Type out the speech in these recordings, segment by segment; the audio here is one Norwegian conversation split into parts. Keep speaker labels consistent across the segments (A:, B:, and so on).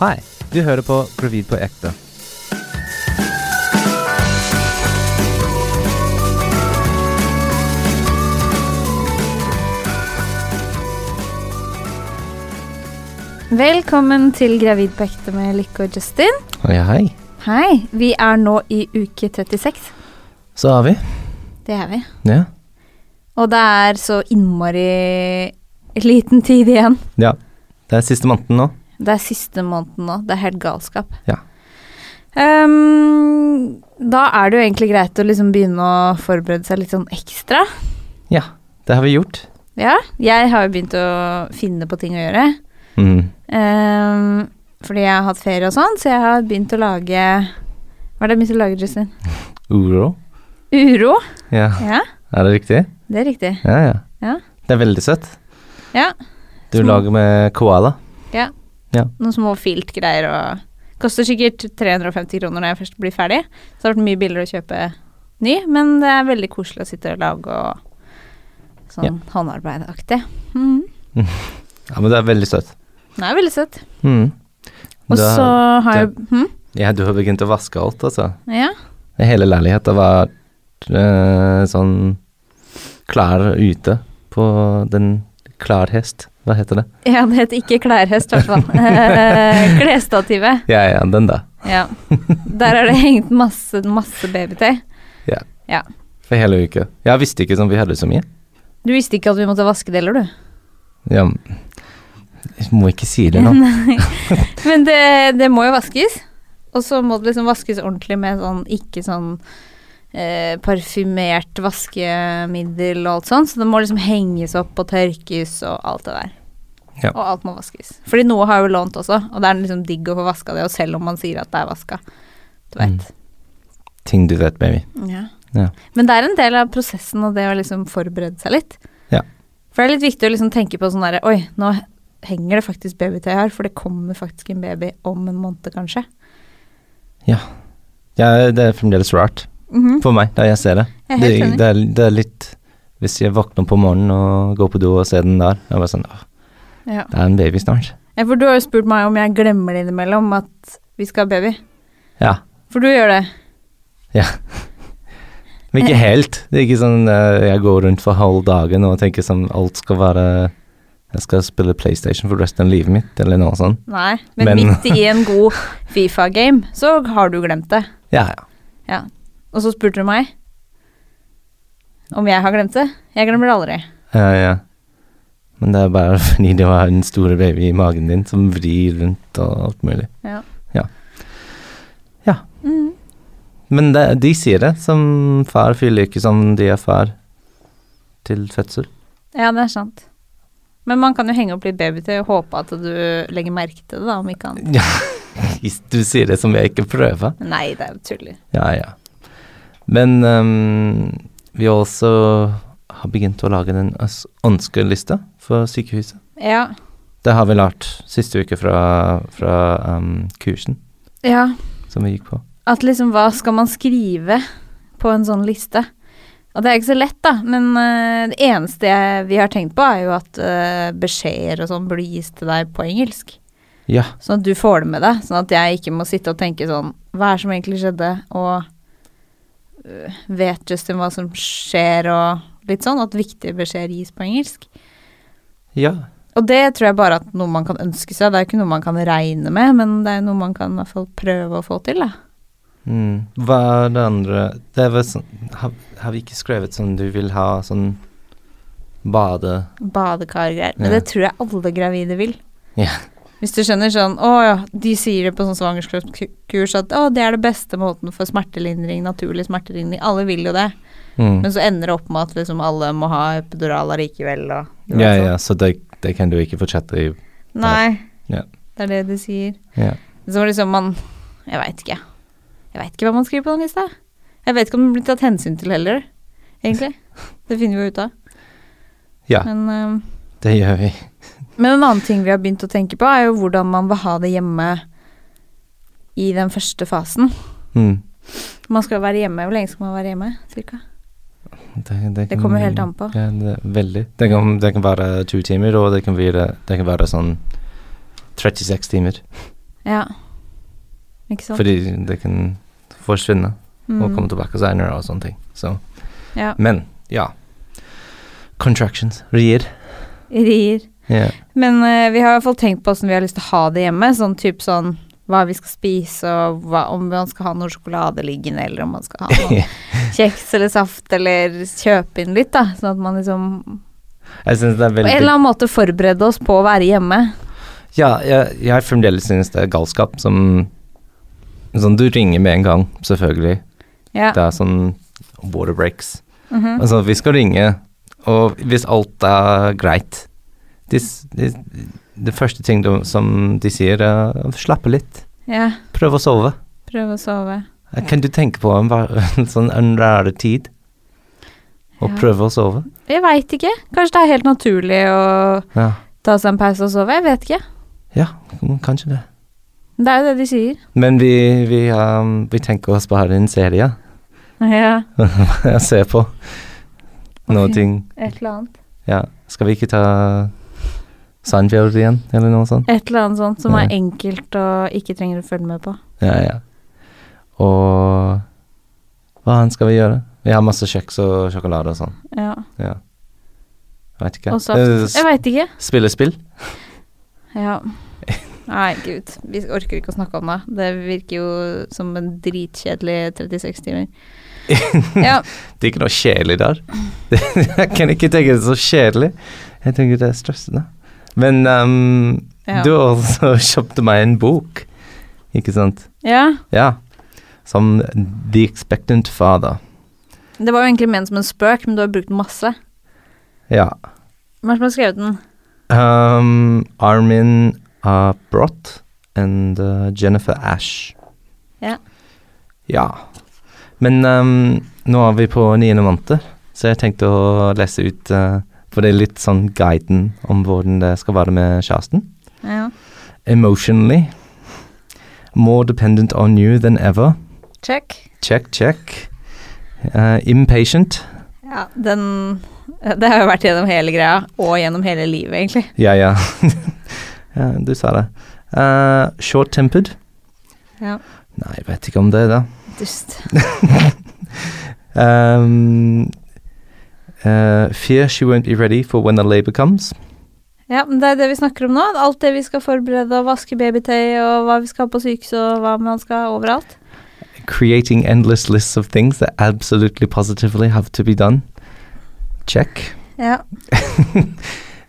A: Hei, du hører på Gravid på ekte.
B: Velkommen til Gravid på ekte med Lykke og Justin.
A: Hei, hei.
B: Hei. Vi er nå i uke 36.
A: Så er vi.
B: Det er vi.
A: Ja.
B: Og det er så innmari liten tid igjen.
A: ja. Det er siste måneden nå.
B: Det er siste måneden nå. Det er helt galskap.
A: Ja.
B: Ehm, da er det jo egentlig greit å liksom begynne å forberede seg litt sånn ekstra.
A: Ja, det har vi gjort.
B: Ja, jeg har jo begynt å finne på ting å gjøre.
A: Mm.
B: Ehm, fordi jeg har hatt ferie og sånn, så jeg har begynt å lage Hva er det jeg begynte å lage, Justin?
A: Uro.
B: Uro.
A: Ja.
B: Ja,
A: Er det riktig?
B: det er riktig.
A: Ja, ja.
B: Ja.
A: Det er veldig søtt.
B: Ja.
A: Du
B: Små-
A: lager med koala.
B: noen små filtgreier og Koster sikkert 350 kroner når jeg først blir ferdig. Så det har vært mye billigere å kjøpe ny, men det er veldig koselig å sitte og lage og sånn håndarbeidaktig. Mm.
A: Ja, men det er veldig søtt.
B: Det er veldig søtt.
A: Mm.
B: Og
A: Du
B: så
A: har,
B: har jeg hm?
A: ja, du har begynt å vaske alt, altså.
B: Ja.
A: Hele leiligheten var eh, sånn klar ute på den klarhest. Hva heter det?
B: ja, det heter ikke klærhest, i hvert fall. Eh, Klesstativet.
A: Ja, ja, den da.
B: Ja. Der har det hengt masse, masse babytøy.
A: Ja.
B: Ja.
A: For hele uka. Jeg visste ikke som vi hadde så mye.
B: Du visste ikke at vi måtte vaske det heller, du.
A: Ja, men- jeg må ikke si det nå.
B: Men det, det må jo vaskes. Og så må det liksom vaskes ordentlig med sånn ikke sånn eh, parfymert vaskemiddel og alt sånn. Så det må liksom henges opp og tørkes og alt det der.
A: Ja.
B: Og alt må vaskes. Fordi noe har jeg jo lånt også, og det er liksom digg å få vaska det, og selv om man sier at det er vaska. Du
A: Mm.
B: veit.
A: Ting du vet, baby.
B: Ja.
A: Ja.
B: Men det er en del av prosessen og det å liksom forberede seg litt.
A: Ja.
B: For det er litt viktig å liksom tenke på sånn derre Oi, nå henger det faktisk babytøy her, for det kommer faktisk en baby om en måned, kanskje.
A: Ja, det er fremdeles rart
B: Mhm.
A: for meg, da jeg ser det.
B: Jeg er helt
A: Det,
B: enig.
A: det, er, det er litt Hvis jeg våkner på morgenen og går på do og ser den der, jeg er bare sånn «Åh,
B: Ja.
A: Det er en baby snart.
B: Ja, for du har jo spurt meg om jeg glemmer det innimellom at vi skal ha baby.
A: Ja.
B: For du gjør det.
A: Men ikke helt. Det er ikke sånn eh, jeg går rundt for halv dagen og tenker sånn alt skal være Jeg skal spille PlayStation for resten av livet mitt, eller noe sånt.
B: Nei. Men,
A: Men-
B: midt i en god Fifa-game, så har du glemt det.
A: Ja, ja.
B: Ja. Og så spurte du meg om jeg har glemt det. Jeg glemmer det aldri.
A: Ja, ja. Men det er bare fordi det var den store baby i magen din som vrir rundt og alt mulig.
B: Ja.
A: Ja. Ja.
B: Mm.
A: Men det, de sier det, som far føler ikke som de er far til fødsel.
B: ja, det er sant. Men man kan jo henge opp litt babytøy og håpe at du legger merke til det, da, om ikke annet.
A: Ja, hvis du sier det som jeg ikke prøver.
B: Men Nei, det er jo tull.
A: Ja, ja. Men ehm, vi har også har begynt å lage den øns- ønskelista for sykehuset.
B: Ja.
A: Det har vi lært siste uke fra, fra ehm, kursen
B: ja.
A: som vi gikk på.
B: At liksom, hva skal man skrive på en sånn liste? Og det er ikke så lett, da, men eh, det eneste jeg, vi har tenkt på, er jo at eh, beskjeder og sånn burde gis til deg på engelsk.
A: Ja,
B: Sånn at du får det med deg, sånn at jeg ikke må sitte og tenke sånn Hva er det som egentlig skjedde, og eh, vet Justin hva som skjer, og litt sånn. At viktige beskjeder gis på engelsk.
A: ja.
B: Og det tror jeg bare at noe man kan ønske seg. Det er jo ikke noe man kan regne med, men det er jo noe man kan i hvert fall prøve å få til, da.
A: Mm. Hva er det andre Det er vel sånn har, har vi ikke skrevet sånn du vil ha sånn bade...
B: Badekargreier. Men
A: Ja.
B: det tror jeg alle gravide vil.
A: Ja.
B: Hvis du skjønner sånn Å ja, de sier det på sånn svangerskapskurs at å, det er det beste måten for smertelindring, naturlig smertelindring. Alle vil jo det.
A: Mm.
B: Men så ender det opp med at liksom alle må ha epidural allikevel og du vet
A: Ja,
B: sånn.
A: ja, så det, det kan du ikke fortsette i.
B: Nei.
A: Ja.
B: Det er det de sier.
A: Ja.
B: Så liksom man Jeg veit ikke. Jeg veit ikke hva man skriver på den lista. Jeg vet ikke om det blir tatt hensyn til heller, egentlig. Det finner vi jo ut av.
A: Ja.
B: Men ehm,
A: Det gjør vi.
B: Men en annen ting vi har begynt å tenke på, er jo hvordan man vil ha det hjemme i den første fasen.
A: Mm.
B: Man skal være hjemme. Hvor lenge skal man være hjemme? Cirka?
A: Det,
B: Det kommer helt an på.
A: Ja, det, veldig. Det kan, det kan være to timer, og det kan være, det kan være sånn 36 timer.
B: Ja. Ikke sant?
A: Fordi det kan forsvinne og
B: Mm.
A: komme tilbake senere og sånne ting. Så.
B: Ja.
A: Men ja. Contractions. Rier.
B: Rier.
A: Ja.
B: Men eh, vi har i hvert fall tenkt på hvordan vi har lyst til å ha det hjemme. Sånn typ sånn hva vi skal spise, og hva, om man skal ha noe sjokolade liggende, eller om man skal ha noe kjeks eller saft, eller kjøpe inn litt, da. Sånn at man liksom
A: Jeg synes det er
B: på en
A: veldig
B: eller annen måte forberede oss på å være hjemme.
A: Ja, jeg, jeg fremdeles synes det er galskap som Sånn, du ringer med en gang, selvfølgelig.
B: Ja.
A: Det er sånn water breaks.
B: Mhm.
A: Altså, vi skal ringe, og hvis alt er greit de, s- de, Det første ting du, som de sier, er slappe litt.
B: ja.
A: Prøv å sove.
B: Prøve å sove.
A: Kan du tenke på en, va- en sånn en rare tid? Og
B: Ja.
A: prøve å sove?
B: Jeg veit ikke. Kanskje det er helt naturlig å
A: Ja.
B: ta seg en pause og sove. Jeg vet ikke.
A: ja, mm, kanskje det.
B: Men Det er jo det de sier.
A: Men vi, vi, um, vi tenker oss bare en serie
B: Ja.
A: å se på. Noe
B: Ok.
A: ting
B: Et eller annet.
A: Ja, skal vi ikke ta Sandfjord igjen, eller noe sånt?
B: Et eller annet sånt som
A: Ja.
B: er enkelt og ikke trenger å følge med på.
A: Ja, ja. Og hva annet skal vi gjøre? Vi har masse kjeks og sjokolade og sånn.
B: Ja.
A: Ja. Veit ikke.
B: Og saft.
A: Eh, s-
B: Jeg veit ikke.
A: Spille spill?
B: Ja. Nei, gud. Vi orker ikke å snakke om det. Det virker jo som en dritkjedelig 36 timer. Ja.
A: Det er ikke noe kjedelig der. jeg kan ikke tenke det er så kjedelig. Jeg tenker det er stressende. Men um,
B: Ja.
A: du også kjøpte meg en bok, ikke sant?
B: ja.
A: Ja. Som The Expectant Father.
B: Det var jo egentlig ment som en spøk, men du har brukt den masse.
A: Ja.
B: Hvem er det som har skrevet den?
A: Um, Armin uh, Brott and uh, Jennifer Ash.
B: Ja.
A: Ja. Men um, nå er vi på niende måned, så jeg tenkte å lese ut uh, For det er litt sånn guiden om hvordan det skal være med kjæresten.
B: Ja.
A: Emotionally. More dependent on you than ever.
B: Check.
A: Check, check. Uh, impatient.
B: Ja, den eh, Det har jo vært gjennom hele greia, og gjennom hele livet, egentlig.
A: Ja, ja. ja du sa det. Uh, short tempered.
B: Ja.
A: Nei, jeg vet ikke om det, da.
B: Dust.
A: Um, uh, fear she won't be ready for when the labor comes.
B: Ja, men det er det vi snakker om nå. Alt det vi skal forberede, og vaske babytøy, og hva vi skal ha på sykehuset, og hva man skal overalt.
A: Creating endless lists of things that absolutely positively have to be done. Check.
B: Ja.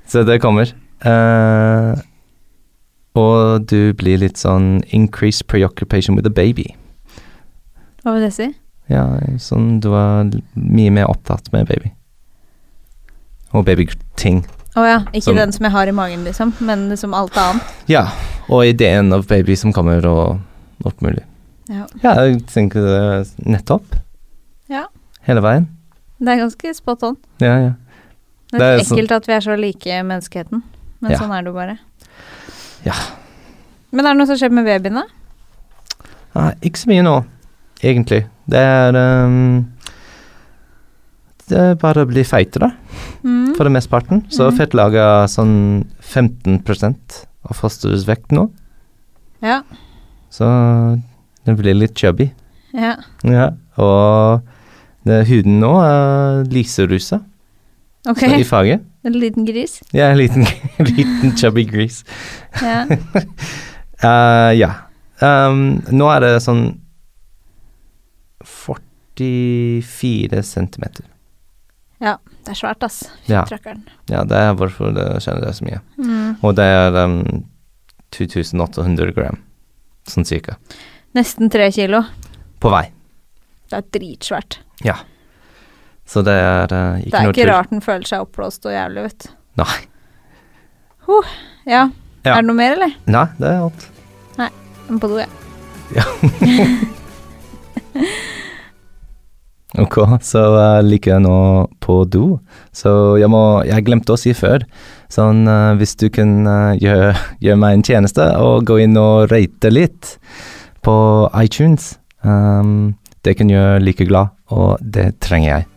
A: Så det kommer. Uh, og du blir litt sånn increased preoccupation with the baby.
B: Hva vil det si?
A: Ja, sånn du er l- mye mer opptatt med baby. Og babyting.
B: Å ja, ikke
A: Som-
B: den som jeg har i magen, liksom, men liksom alt annet.
A: Ja, og ideen av baby som kommer og alt mulig.
B: Ja.
A: Ja, jeg tenker det er nettopp.
B: Ja.
A: Hele veien.
B: Det er ganske spot on.
A: Ja, ja.
B: Det
A: Det
B: er
A: er
B: litt ekkelt at vi er så like menneskeheten, men
A: Ja.
B: sånn er det jo bare.
A: Ja.
B: Men er det noe som skjer med babyen, da?
A: Nei, ikke så mye nå, egentlig. Det er ehm, Det er bare å bli feitere,
B: Mm.
A: for det meste parten. Så
B: Mhm.
A: fettlaget er sånn 15 av fosterets vekt nå.
B: Ja.
A: Så det blir litt chubby.
B: ja.
A: Ja. Og det, huden nå er lyserusa
B: Ok.
A: i farge.
B: En liten gris.
A: Ja, en liten, liten chubby grease.
B: Ja.
A: Eh, ja. Ehm, nå er det sånn 44 centimeter.
B: Det er svært, ass.
A: Ja.
B: Trøkkeren.
A: ja, det er hvorfor det skjer det så mye.
B: Mm.
A: Og det er ehm, 2800 gram, sånn cirka.
B: Nesten tre kilo.
A: På vei.
B: Det er dritsvært.
A: Så det er eh, ikke
B: Det er
A: noe
B: ikke
A: tull.
B: rart den føler seg oppblåst og jævlig, vet du.
A: Nei.
B: Huh. Ja.
A: Ja.
B: Er det noe mer, eller?
A: Nei, det er alt.
B: Jeg må På do, jeg.
A: Ok, så uh, ligger jeg nå på do. Så jeg må Jeg glemte å si før. Sånn eh, hvis du kan eh, gjøre gjøre meg en tjeneste og gå inn og rate litt på iTunes. ehm, det kan gjøre like glad, og det trenger jeg.